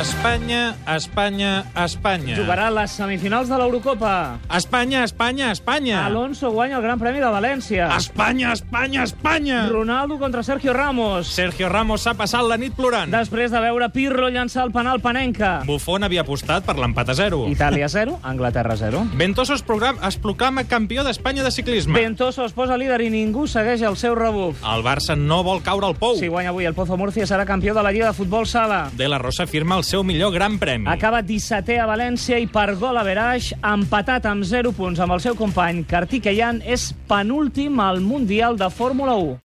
Espanya, Espanya, Espanya. Jugarà les semifinals de l'Eurocopa. Espanya, Espanya, Espanya. Alonso guanya el Gran Premi de València. Espanya, Espanya, Espanya. Ronaldo contra Sergio Ramos. Sergio Ramos s'ha passat la nit plorant. Després de veure Pirlo llançar el penal panenca. Buffon havia apostat per l'empat a zero. Itàlia 0, Anglaterra 0. Ventoso es, program... es proclama campió d'Espanya de ciclisme. Ventoso es posa líder i ningú segueix el seu rebuf. El Barça no vol caure al pou. Si guanya avui el Pozo Murcia serà campió de la Lliga de Futbol Sala. De la Rosa firma el seu millor gran premi. Acaba 17è a València i per gol a Veraix, empatat amb 0 punts amb el seu company Cartí Queian, és penúltim al Mundial de Fórmula 1.